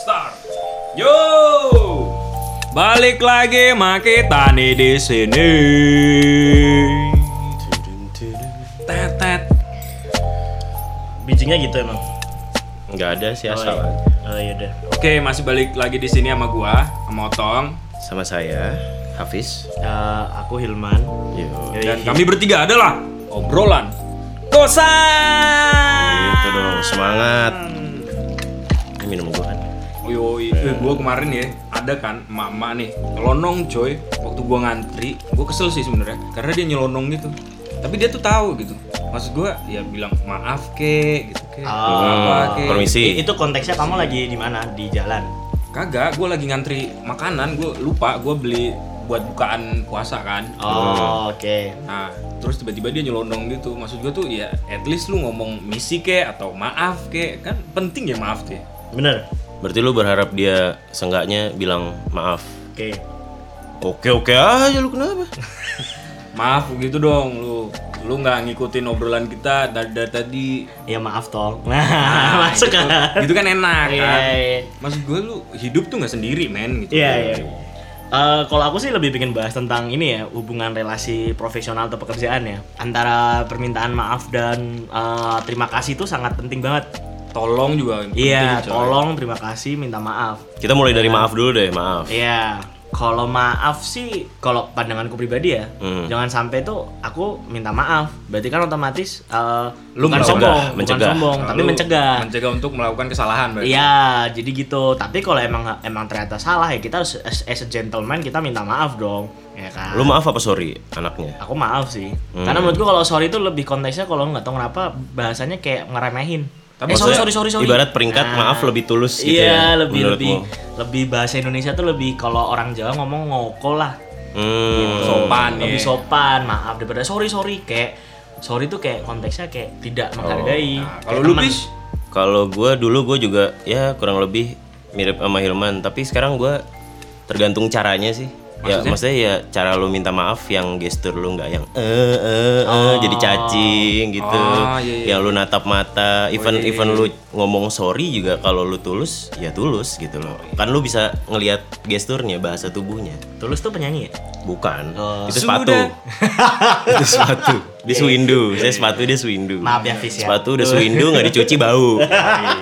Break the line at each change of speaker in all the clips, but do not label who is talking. Start. Yo. Balik lagi make Tani di sini. Tetet.
Bijinya gitu emang.
Nggak ada sih
Oh,
asal
iya. Oh iya udah.
Oke, masih balik lagi di sini sama gua, sama Otong.
sama saya Hafiz.
Eh, aku Hilman.
Yo.
Dan kami bertiga adalah obrolan kosan.
Gitu dong, semangat.
Hmm.
Ini minum gua kan.
Yoi, eh, gue kemarin ya ada kan mama nih nyelonong coy waktu gua ngantri gue kesel sih sebenarnya karena dia nyelonong gitu tapi dia tuh tahu gitu maksud gua ya bilang maaf ke gitu ke
Ah,
apa ke
Permisi.
Oh, Itu konteksnya kamu lagi di mana? Di jalan.
kagak gue lagi ngantri makanan gue lupa gue beli buat bukaan puasa kan
Oh, oke.
nah terus tiba-tiba dia nyelonong gitu maksud gue tuh ya at least lu ngomong misi ke atau maaf ke kan penting ya maaf ke
Bener.
Berarti lu berharap dia seenggaknya bilang maaf.
Oke.
Oke oke aja lu kenapa?
maaf gitu dong lu lu nggak ngikutin obrolan kita dari, dari tadi
Ya maaf tong. Nah, masuk
gitu,
kan.
gitu kan enak
Iya,
kan
iya.
maksud gue lu hidup tuh nggak sendiri men gitu
Iya, iya. Eh, kalau aku sih lebih pengen bahas tentang ini ya hubungan relasi profesional atau pekerjaan ya antara permintaan maaf dan eh, terima kasih itu sangat penting banget.
tolong juga penting,
Iya,
coy.
tolong terima kasih, minta maaf.
Kita mulai dari maaf dulu deh, maaf.
Iya, kalau maaf sih, kalau pandanganku pribadi ya,
Hmm.
jangan sampai tuh aku minta maaf. Berarti kan otomatis eh,
Lu
bukan
mencegah,
sombong, bukan
mencegah.
sombong,
Nah,
tapi
lu
mencegah.
mencegah untuk melakukan kesalahan berarti.
Iya, jadi gitu. Tapi kalau emang emang ternyata salah ya kita harus as, as a gentleman kita minta maaf dong, ya kan?
Lu maaf apa sorry anaknya?
aku maaf sih.
Hmm.
Karena menurutku kalau sorry itu lebih konteksnya kalau nggak tahu kenapa bahasanya kayak ngeremehin.
Tapi
eh, sorry,
maksudnya
sorry, sorry, sorry. Nah.
ibarat peringkat maaf lebih tulus gitu
iya,
ya,
lebih lebih
menurutmu?
lebih bahasa Indonesia tuh lebih kalau orang Jawa ngomong ngoko lah.
Hmm.
sopan ya.
lebih sopan maaf daripada sorry sorry kayak sorry tuh kayak konteksnya kayak tidak
Oh.
menghargai
Nah,
Kayak
kalau lu
teman.
bis
Kalau gua dulu gua juga ya kurang lebih mirip sama Hilman, tapi sekarang gua tergantung caranya sih. Ya maksudnya ya cara lu minta maaf yang gestur lu nggak yang eh eh eh,
Oh.
jadi cacing gitu.
Oh,
Ah,
iya, iya.
Yang lu
Oh,
natap mata,
iya,
even even lu ngomong sorry juga kalau lu tulus ya tulus gitu
Oh,
loh.
iya.
Kan lu bisa ngelihat gesturnya, bahasa tubuhnya.
tulus tuh penyanyi ya
Bukan.
Oh.
Itu sepatu.
Sudah.
itu sepatu. Dia swindu. Saya sepatu dia swindu.
maaf ya Fis ya
Sepatu udah swindu nggak dicuci bau.
Iya.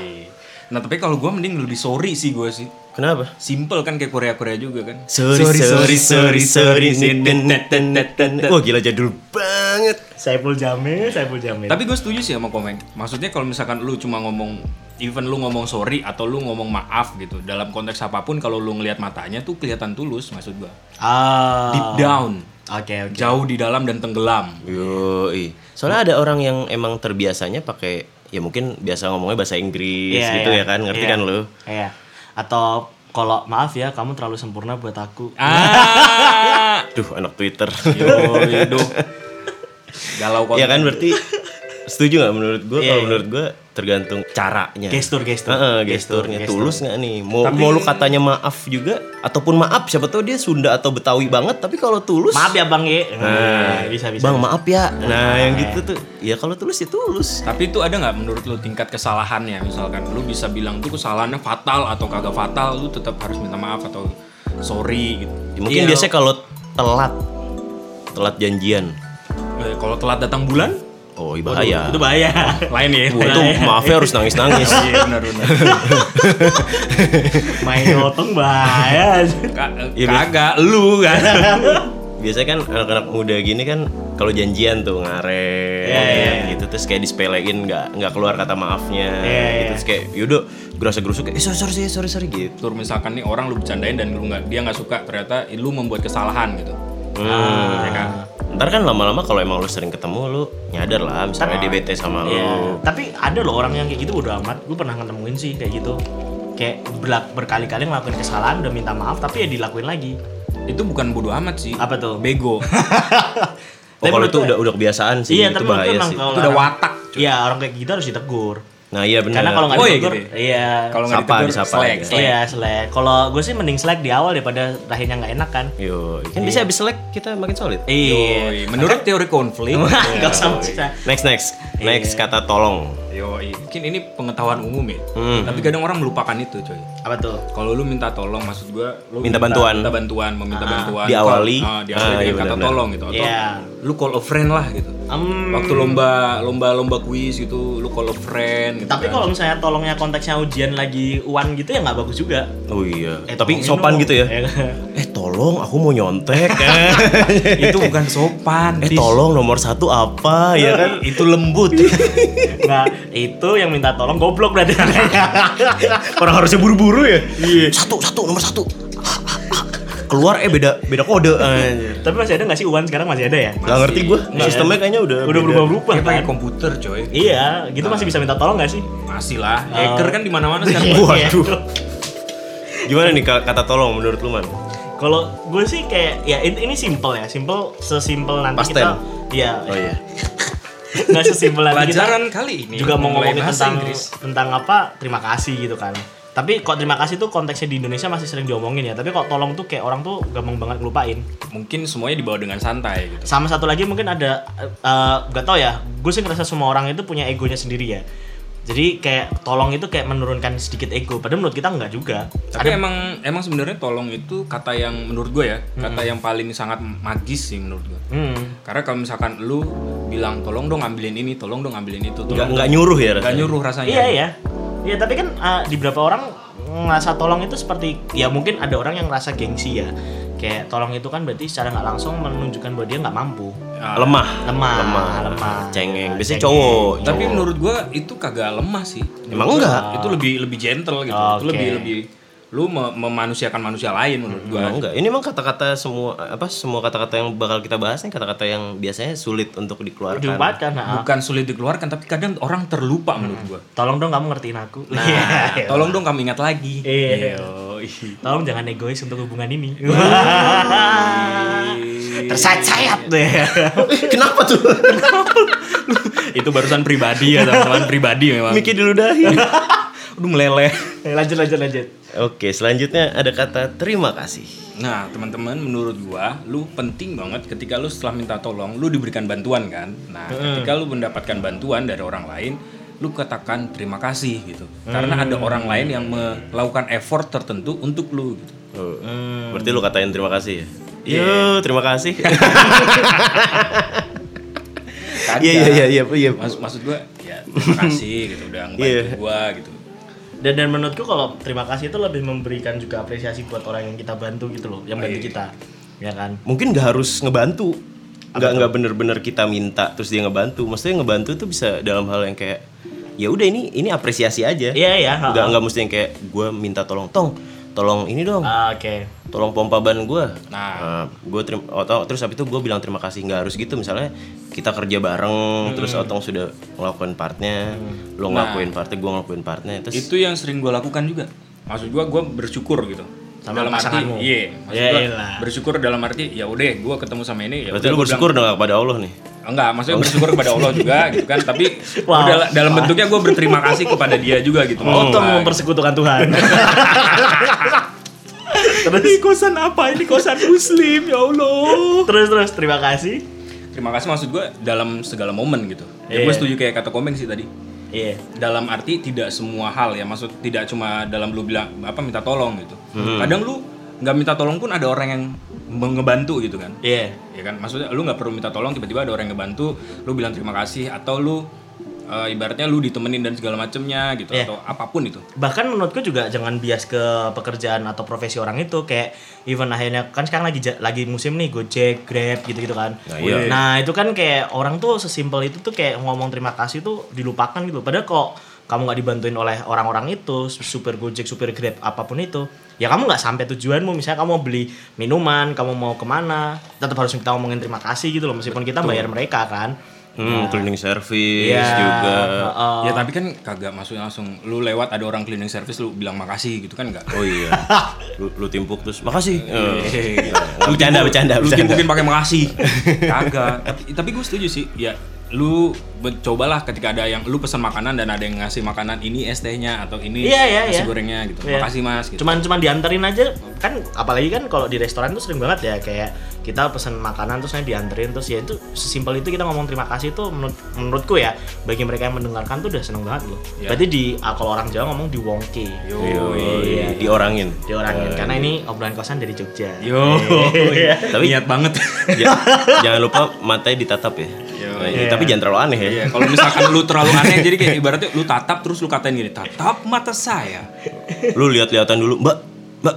nah tapi kalau gue mending lebih sorry sih gue sih
Kenapa?
simple kan kayak Korea Korea juga kan
Sorry, sorry, sorry, sorry, neten, neten, neten. Wah gila jadul banget.
Saiful Jamil Saiful Jamil
Tapi gue setuju sih sama Komeng. Maksudnya kalau misalkan lu cuma ngomong even lu ngomong sorry atau lu ngomong maaf gitu dalam konteks apapun kalau lu ngelihat matanya tuh kelihatan tulus maksud gua.
ah
Deep down,
oke oke
jauh di dalam dan tenggelam.
Yoi. Soalnya ada orang yang emang terbiasanya pakai ya mungkin biasa ngomongnya bahasa Inggris
Iya,
gitu
iya.
ya kan, ngerti
Iya.
kan lu?
iya atau kalau maaf ya kamu terlalu sempurna buat aku
Iya.
Ah,
Duh, anak Twitter.
yo, duh. Galau kok.
Iya kan berarti setuju nggak menurut gua?
Iya,
Kalau
iya.
menurut gua tergantung caranya.
gestur gestur
Heeh, gesturnya
Gestur,
tulus nggak nih? Mau, mau lu katanya maaf juga ataupun maaf siapa tahu dia Sunda atau Betawi banget tapi kalau tulus
maaf ya bang ya bisa bisa
Nah, Bang maaf ya. Nah, yang gitu tuh. Ya kalau tulus ya tulus.
Tapi itu ada nggak menurut lu tingkat kesalahannya misalkan lu bisa bilang tuh kesalahannya fatal atau kagak fatal lu tetap harus minta maaf atau sorry gitu.
Ya, mungkin
Iya.
biasanya kalau telat telat janjian.
Eh, kalau telat datang bulan
Oh, iya,
Waduh,
bahaya.
itu bahaya
lain ya.
Wah, itu maafnya harus nangis-nangis.
Iya benar-benar.
main otong bahaya
Ka- eh,
Iya, Beb.
kagak lu kan.
biasanya kan anak-anak muda gini kan kalau janjian tuh ngaret
Iya, iya.
gitu terus kayak disepelein nggak nggak keluar kata maafnya
Iya,
gitu
iya.
terus kayak yaudah gerasa gerusuk kayak eh, sorry sorry sorry sorry gitu
Tur misalkan nih orang lu bercandain dan lu nggak dia nggak suka ternyata lu membuat kesalahan gitu.
Ah.
hmm.
Ya kan?
ntar kan lama-lama kalau emang lu sering ketemu lu nyadar lah misalnya dia bete sama lu Oh,
Iya. Tapi ada loh orang yang kayak gitu udah amat. Gue pernah ketemuin sih kayak gitu. Kayak berlak- berkali-kali ngelakuin kesalahan udah minta maaf tapi ya dilakuin lagi.
Itu bukan bodoh amat sih.
Apa tuh?
Bego.
Oh, kalau itu
menurut
udah udah kebiasaan sih
Iya, tapi
itu
menurut gue
bahaya
emang
sih
kalau
Itu udah
orang-
watak, cuy.
Iya, orang kayak gitu harus ditegur.
Nah iya benar.
Karena kalau nggak
Oh, iya
ditegur,
gitu ya?
iya.
Kalau nggak
Sapa,
ditegur,
disapa
slack,
aja.
slack.
Iya, selek. Kalau gue sih mending selek di awal daripada akhirnya nggak enak kan.
Yo, kan bisa habis selek kita makin solid.
Yoi.
Iya.
Menurut teori konflik,
Gak usah maksudnya.
Next next next kata tolong.
yoi. Mungkin ini pengetahuan umum ya.
Hmm.
Tapi kadang orang melupakan itu, coy.
Apa tuh?
Kalau lu minta tolong, maksud gua lu
Minta bantuan. Ah,
minta bantuan, meminta bantuan.
Diawali.
Kalau- ah, diawali
Ah,
dengan
iya
kata
benar-benar.
tolong gitu. Atau
Iya.
lu call a friend lah gitu.
Hmm,
Waktu lomba lomba lomba kuis gitu, lu call a friend gitu.
tapi
kan.
kalau misalnya tolongnya konteksnya ujian lagi uan gitu ya nggak bagus juga.
Oh iya.
Eh,
Tapi
tolongin
sopan
dong.
gitu ya.
Iya.
Eh tolong aku mau nyontek.
itu bukan sopan.
eh
Tis.
tolong nomor satu apa ya kan? Itu lembut.
Nah, itu yang minta tolong goblok berarti
Orang harusnya buru-buru ya. Satu satu nomor satu. Keluar eh beda beda kode. Anjir.
Tapi masih ada nggak sih uan sekarang masih ada ya?
Gak ngerti gue.
Iya.
Sistemnya kayaknya udah
Udah
beda.
berubah-berubah
Dia pakai
kan?
komputer, coy.
Iya, gitu masih bisa minta tolong nggak sih?
Masih lah. Hacker kan di mana-mana sekarang.
Iya. Waduh. Gimana nih ka- kata tolong menurut lu man?
Kalau gue sih kayak ya ini, ini simple ya, simple sesimpel nanti
Pasten.
kita iya.
Oh iya.
Nggak sesimpel nanti Nah, kita
Pelajaran kali ini
juga mau
mengenai
ngomongin
bahasa
tentang
Inggris.
tentang apa terima kasih gitu kan tapi kok terima kasih tuh konteksnya di Indonesia masih sering diomongin ya tapi kok tolong tuh kayak orang tuh gampang banget ngelupain
Mungkin semuanya dibawa dengan santai gitu.
sama satu lagi mungkin ada eh, nggak tau ya gue sih ngerasa semua orang itu punya egonya sendiri ya jadi kayak tolong itu kayak menurunkan sedikit ego padahal menurut kita nggak juga
Tapi emang emang sebenarnya tolong itu kata yang menurut gue ya, kata yang paling sangat magis sih menurut gue.
hmm.
Karena kalau misalkan lu bilang tolong dong ambilin ini, tolong dong ambilin itu,
Nggak
tolong
nggak nyuruh ya
nggak
rasanya.
nyuruh rasanya.
iya iya iya tapi kan eh, di beberapa orang ngerasa tolong itu seperti ya mungkin ada orang yang ngerasa gengsi ya kayak tolong itu kan berarti secara nggak langsung menunjukkan bahwa dia nggak mampu
Ah,
Lemah.
lemah
Lemah.
lemah
Cengeng. Biasanya
Cengeng.
cowok.
Tapi
cowok.
menurut gue itu kagak lemah sih. Menurut
Oh. Emang
gua
enggak?
Itu lebih lebih gentle gitu. Itu
Oke.
lebih lebih lu me- memanusiakan manusia lain menurut gue.
Emang Nah, enggak. Ini emang kata-kata semua apa semua kata-kata yang bakal kita bahas nih kata-kata yang biasanya sulit untuk dikeluarkan.
diumpatkan nah.
Bukan sulit dikeluarkan, tapi kadang orang terlupa menurut gue.
tolong dong kamu ngertiin aku nah,
Tolong dong kamu ingat lagi.
Iya.
Yoi.
tolong jangan egois untuk hubungan ini Wah. tersayat-sayat deh
Kenapa tuh?
itu barusan pribadi ya teman-teman pribadi memang
Miki diludahi.
udah meleleh
Eh, lanjut lanjut lanjut
Oke, selanjutnya ada kata terima kasih.
nah teman-teman menurut gua lu penting banget ketika lu setelah minta tolong lu diberikan bantuan kan nah ketika lu mendapatkan bantuan dari orang lain lu katakan terima kasih gitu
Mm.
karena ada orang lain yang melakukan effort tertentu untuk lu gitu.
Oh, Berarti lu katain terima kasih ya? Iya, terima kasih.
Kagak.
Iya, iya, iya, iya, iya.
Kan? Mas- maksud gua ya terima kasih gitu udah ngebantu
Iya.
gua gitu
dan dan menurutku kalau terima kasih itu lebih memberikan juga apresiasi buat orang yang kita bantu gitu loh yang bantu kita ya kan
Mungkin nggak harus ngebantu. Nggak nggak bener-bener kita minta terus dia ngebantu. Maksudnya ngebantu tuh bisa dalam hal yang kayak ya udah ini ini apresiasi aja.
iya ya ha.
Nggak nggak mesti yang kayak gua minta tolong, "Tong, tolong ini dong,
Ah, oke
tolong pompa ban gua."
nah
Nah, gue terima atau terus habis itu gue bilang terima kasih nggak harus gitu misalnya kita kerja bareng
Hmm.
terus otong sudah ngelakuin partnya lo ngelakuin partnya gue ngelakuin partnya terus
Nah. itu yang sering gue lakukan juga maksud gue gue bersyukur gitu
Sama
dalam arti
pasanganmu.
iya maksud
Ya
gua
iyalah.
bersyukur dalam arti ya udah gue ketemu sama ini ya
berarti
udah,
lo
gua
bersyukur dong kepada Allah nih
bilang, enggak maksudnya bersyukur kepada Allah juga gitu kan tapi
Wow.
udah lah, dalam bentuknya gue berterima kasih kepada dia juga gitu Maksud
Oh, tuh
gua,
mempersekutukan Tuhan. terus
kosan apa ini kosan muslim ya Allah
terus terus terima kasih.
terima kasih maksud gue dalam segala momen gitu ya, gue
Iya.
setuju kayak kata komeng sih tadi
Iya.
dalam arti tidak semua hal ya maksud tidak cuma dalam lu bilang apa minta tolong gitu
Hmm.
kadang lu nggak minta tolong pun ada orang yang ngebantu gitu kan
Iya.
ya kan maksudnya lu nggak perlu minta tolong tiba-tiba ada orang yang ngebantu lu bilang terima kasih atau lu eh, ibaratnya lu ditemenin dan segala macemnya gitu
Iya.
atau apapun itu
Bahkan menurutku juga jangan bias ke pekerjaan atau profesi orang itu kayak even akhirnya kan sekarang lagi ja- lagi musim nih Gojek, Grab gitu-gitu kan.
Nah, iya.
Nah, itu kan kayak orang tuh sesimpel itu tuh kayak ngomong terima kasih tuh dilupakan gitu. Padahal kok kamu nggak dibantuin oleh orang-orang itu, supir Gojek, supir Grab, apapun itu, ya kamu nggak sampai tujuanmu. Misalnya kamu mau beli minuman, kamu mau kemana, tetap harus kita ngomongin terima kasih gitu loh, meskipun kita bayar mereka kan.
Nah.
hmm, cleaning service
Iya,
juga
heeh.
Eh.
ya tapi kan kagak maksudnya langsung lu lewat ada orang cleaning service lu bilang makasih gitu kan enggak
oh iya lu, lu timpuk terus makasih Eh,
Iya.
bercanda bercanda
lu
bercanda
timbukin pakai makasih kagak tapi, tapi gue setuju sih ya lu be- cobalah ketika ada yang lu pesan makanan dan ada yang ngasih makanan ini es tehnya atau ini
Iya, iya,
nasi
iya.
gorengnya gitu.
Iya.
Makasih Mas gitu.
Cuman cuman dianterin aja kan apalagi kan kalau di restoran tuh sering banget ya kayak kita pesen makanan terus nanti dianterin terus ya itu sesimpel itu kita ngomong terima kasih itu menurut, menurutku ya bagi mereka yang mendengarkan tuh udah seneng banget loh.
Iya.
Berarti di ah, kalau orang Jawa ngomong di wongke.
Ya. Yo,
Yoi.
diorangin.
Di orang karena ini obrolan kosan dari Jogja. Iya.
Yo.
iya.
Tapi niat banget.
Ja- jangan lupa matanya ditatap ya.
Yo,
Nah,
iya.
Tapi jangan terlalu aneh ya.
Iya, kalau misalkan lu terlalu aneh jadi kayak ibaratnya lu tatap terus lu katain gini, "Tatap mata saya."
Lu lihat-lihatan dulu, Mbak. Mbak.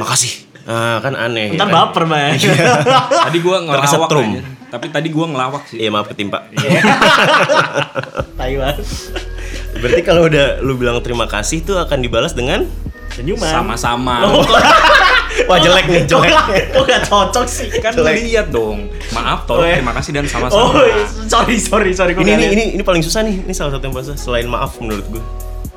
Makasih. Nah, kan aneh.
Ntar
ya kan?
baper, Mas.
Tadi gua ngelawak
Terkesetrum.
aja. Tapi tadi gua ngelawak sih.
Iya, maaf ketimpa.
Tai banget.
Berarti kalau udah lu bilang terima kasih tuh akan dibalas dengan
Senyuman.
Oh,
Sama-sama.
Loh, kok-
Wah, jelek nih,
Kok
jelek.
nggak- kok nggak cocok sih
kan lihat dong. Maaf,
Oh,
tolong
iya.
terima kasih dan
Oh,
sama-sama.
sorry sorry sorry. gua
Ini ini
nggak lihat.
ini ini paling susah nih. Ini salah satu yang paling susah selain maaf menurut gue.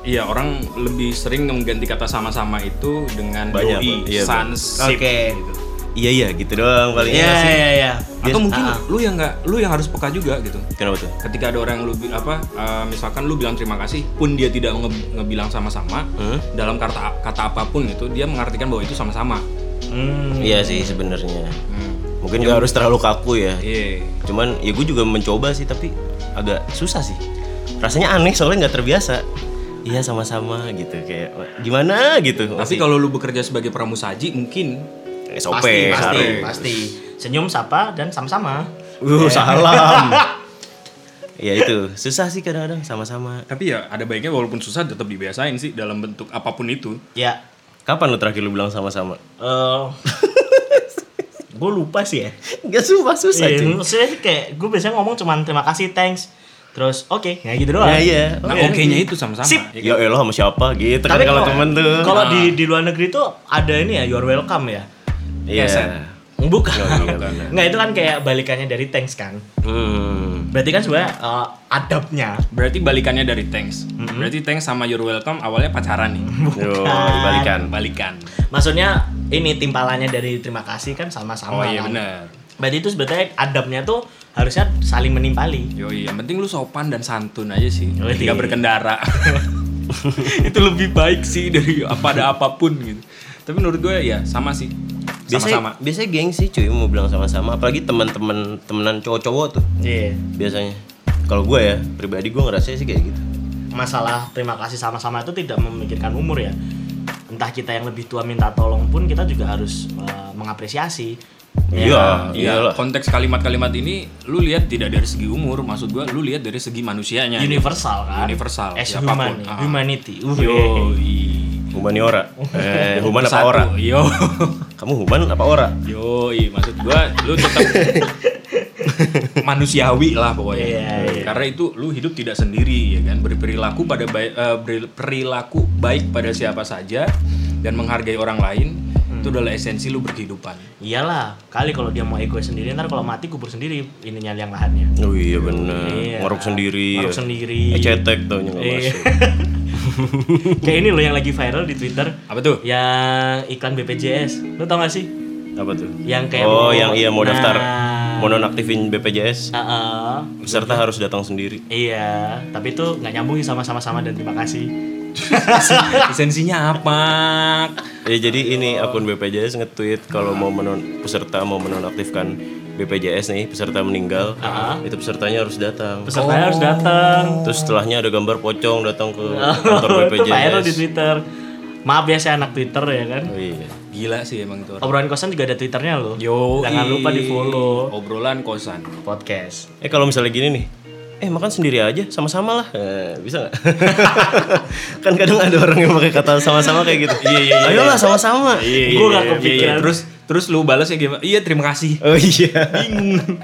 Iya, orang lebih sering mengganti kata sama-sama itu dengan
Banyak,
doi,
Pak. Iya, Pak.
sansip.
Oke.
gitu.
Iya iya gitu doang paling
Iya
enak sih.
iya iya.
Atau mungkin
Ah, ah.
lu yang nggak, lu yang harus peka juga gitu.
Kenapa tuh?
Ketika ada orang yang lu bi- apa, eh, misalkan lu bilang terima kasih, pun dia tidak nge- ngebilang sama-sama,
Hmm?
dalam kata kata apapun gitu, dia mengartikan bahwa itu sama-sama.
Hmm.
Iya sih sebenarnya.
Hmm.
Mungkin gak harus terlalu kaku ya.
Iya.
Cuman ya gue juga mencoba sih tapi agak susah sih. Rasanya aneh soalnya nggak terbiasa. Iya sama-sama gitu kayak "Wah, gimana gitu.
Tapi kalau lu bekerja sebagai pramusaji, mungkin
SOP
Pasti pasti
harus.
pasti. Senyum sapa dan sama-sama.
Uh, salam. ya itu susah sih kadang-kadang sama-sama.
tapi ya ada baiknya walaupun susah tetap dibiasain sih dalam bentuk apapun itu.
Ya.
Kapan lu terakhir lu bilang sama-sama?
Eh gue lupa sih ya.
Gak susah susah
Iya,
cuy.
maksudnya sih kayak gue biasanya ngomong cuman terima kasih, thanks. Terus oke, ya gitu doang.
Ya iya.
Nah,
Oke.
oke-nya itu sama-sama.
Sip.
ya kan?
Ya elah sama siapa gitu kan kalau
kalau-
temen tuh. Ah.
Kalau di di luar negeri tuh ada ini ya, you're welcome ya.
keset.
Iya.
Bukan.
Nggak, nggak, nggak.
Nggak, itu kan kayak balikannya dari thanks kan.
Hmm.
Berarti kan sebenarnya eh, adabnya
Berarti balikannya dari thanks. Berarti thanks sama you're welcome awalnya pacaran nih.
Yo, dibalikan.
Balikan.
maksudnya ini timpalannya dari terima kasih kan
Oh
sama-sama.
iya
kan.
benar.
Berarti itu sebetulnya adabnya tuh harusnya saling menimpali.
Yo yang penting lu sopan dan santun aja sih
Yoi.
ketika berkendara. itu lebih baik sih dari apa ada apapun gitu. Tapi menurut gue ya sama sih.
Biasanya,
Sama-sama.
biasanya geng sih cuy mau bilang sama-sama apalagi teman-teman temenan cowok-cowok tuh
Iya.
biasanya kalau gue ya pribadi gue ngerasa sih kayak gitu
Masalah terima kasih sama-sama itu tidak memikirkan umur ya. Entah kita yang lebih tua minta tolong pun kita juga harus eh, mengapresiasi.
iya
Iya,
iyalah
konteks kalimat-kalimat ini lu lihat tidak dari segi umur, maksud gua lu lihat dari segi manusianya.
Universal kan.
Iya, Universal,
As
siapapun.
human,
Ah.
humanity. Uh,
Yo,
humaniora eh human apa ora
Yo,
kamu human apa ora
yo, maksud gua lu tetap manusiawi lah pokoknya.
Iya, iya.
Karena itu lu hidup tidak sendiri ya kan, berperilaku pada baik eh, berperilaku baik pada siapa saja dan menghargai orang lain
Hmm.
itu adalah esensi lu berkehidupan.
Iyalah, kali kalau dia mau egois sendiri ntar kalau mati kubur sendiri ininya liang lahannya.
oh iya bener
Iya.
ngorok sendiri
Ngorok
ya.
sendiri.
eh, cetek tau nggak
Iya.
masuk
Kayak ini loh yang lagi viral di Twitter
Apa tuh?
yang iklan BPJS. Lu tau gak sih?
apa tuh
Yang kayak
oh
mau-
yang iya mau
Nah.
daftar mau nonaktifin BPJS
Heeh.
peserta harus datang sendiri
Iya, tapi itu nggak nyambung sih sama sama sama dan terima kasih.
Esensinya apa?
Ya jadi ini akun BPJS nge-tweet kalau mau menon peserta mau menonaktifkan BPJS nih peserta meninggal
Uh-huh.
itu pesertanya harus
Oh.
datang.
Pesertanya harus datang.
Terus setelahnya ada gambar pocong datang ke kantor
itu viral di
BPJS.
Twitter. Maaf ya saya anak Twitter ya kan.
Oh, iya.
Gila sih emang itu. orang.
Obrolan kosan juga ada Twitternya loh.
Yoi.
Jangan lupa di follow
Obrolan kosan.
podcast.
Eh kalau misalnya gini nih, eh makan sendiri aja sama-sama lah, Eh, bisa nggak? kan kadang ada orang yang pakai kata sama-sama kayak gitu. Iya iya. Ayolah sama-sama.
Gua nggak kepikiran.
Iya, Terus terus lu balasnya gimana? Iya terima kasih.
Oh iya. Bingung.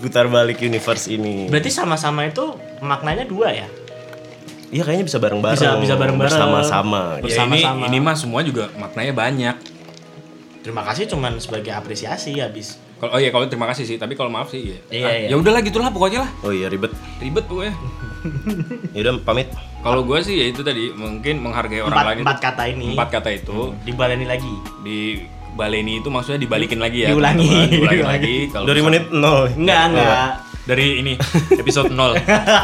Putar balik universe ini.
Berarti sama-sama itu maknanya dua ya?
Iya kayaknya bisa bareng-bareng.
Bisa- bisa bareng-bareng.
Bersama-sama.
Ya,
Bersama-sama.
ini, ini mah semua juga maknanya banyak.
Terima kasih cuman sebagai apresiasi habis.
Kalau oh iya kalau terima kasih sih, tapi kalau maaf sih iya.
Iya,
Ah,
iya.
Ya udahlah gitulah pokoknya lah.
Oh iya ribet.
Ribet pokoknya.
Yaudah pamit.
Kalau gue sih ya itu tadi mungkin menghargai orang
Empat,
lain.
empat kata ini Hmm.
Empat kata itu
dibaleni lagi.
Iya.
di baleni itu maksudnya dibalikin lagi ya.
Diulangi.
teman-teman. Diulangi
Diulangi.
lagi. Kalau
Dari menit nol.
Enggak, enggak.
dari ini episode 0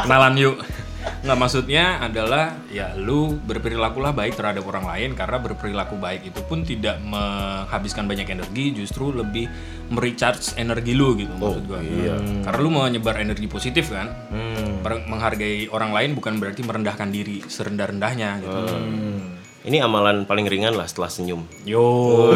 kenalan yuk nggak maksudnya adalah ya lu berperilakulah baik terhadap orang lain karena berperilaku baik itu pun tidak menghabiskan banyak energi justru lebih merecharge energi lu gitu maksud gua Hmm. karena lu menyebar energi positif kan Per- menghargai orang lain bukan berarti merendahkan diri serendah rendahnya gitu
Ini amalan paling ringan lah setelah senyum.
yo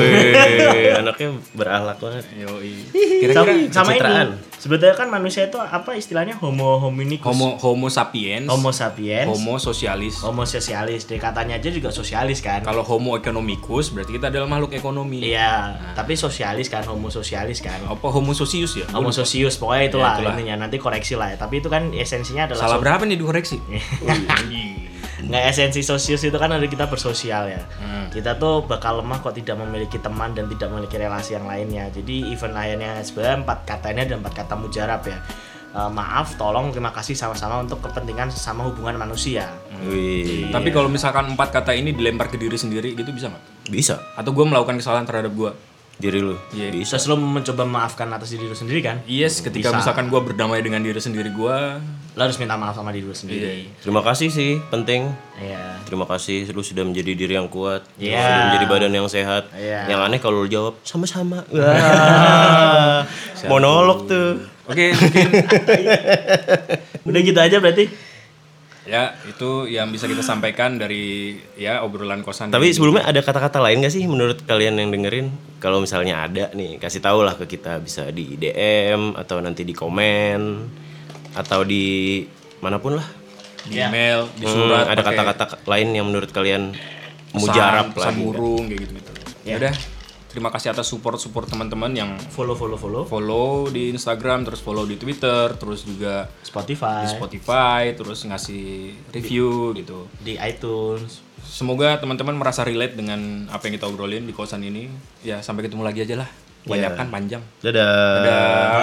Wih, anaknya berahlak banget.
yoi.
sama,
kira-kira
sama ini
pencitraan.
sebetulnya kan manusia itu apa istilahnya homo hominicus
homo homo sapiens
homo sapiens
homo
homo,
sosialis
sosialis dari katanya aja juga sosialis kan
kalau homo economicus berarti kita adalah makhluk ekonomi
iya tapi sosialis kan homo sosialis kan
apa Nah. homo socius ya
homo sosius pokoknya itulah,
itulah.
intinya nanti koreksi lah ya tapi itu kan esensinya adalah
salah
so-
berapa nih dikoreksi Oh, iya,
nggak esensi sosius itu kan ada kita bersosial ya
Hmm.
kita tuh bakal lemah kok tidak memiliki teman dan tidak memiliki relasi yang lainnya jadi event lainnya sebenarnya empat katanya dan empat kata mujarab ya Eh, maaf tolong terima kasih sama-sama untuk kepentingan sesama hubungan manusia
Hmm.
Wih,
Tapi kalau misalkan empat kata ini dilempar ke diri sendiri gitu bisa nggak?
bisa
Atau gue melakukan kesalahan terhadap gue?
diri lu.
Iya.
bisa
Bisa.
selalu mencoba memaafkan atas diri lu sendiri kan
Yes, ketika
Bisa.
misalkan gue berdamai dengan diri sendiri gue,
lo harus minta maaf sama diri lu
Iya,
sendiri
Terima kasih sih, penting.
iya
Terima kasih lu sudah menjadi diri yang kuat, lu
Iya.
sudah menjadi badan yang sehat.
Iya.
Yang aneh kalau lu jawab sama-sama. Wah. Monolog tuh.
oke mungkin
udah gitu aja berarti
ya itu yang bisa kita sampaikan dari ya obrolan kosan.
Tapi sebelumnya ada kata-kata lain gak sih menurut kalian yang dengerin? Kalau misalnya ada nih, kasih tau lah ke kita bisa di DM atau nanti di komen atau di manapun lah.
di email, di
Hmm,
surat,
ada
pakai
kata-kata lain yang menurut kalian
pesan,
mujarab lah.
pesan murung kayak gitu gitu. Ya udah, terima kasih atas support support teman-teman yang
follow follow follow
follow di Instagram, terus follow di Twitter, terus juga
Spotify
di Spotify, terus ngasih review gitu.
di iTunes
Semoga teman-teman merasa relate dengan apa yang kita obrolin di kosan ini. Ya, sampai ketemu lagi aja lah. Banyak kan panjang.
Dadah.
Dadah.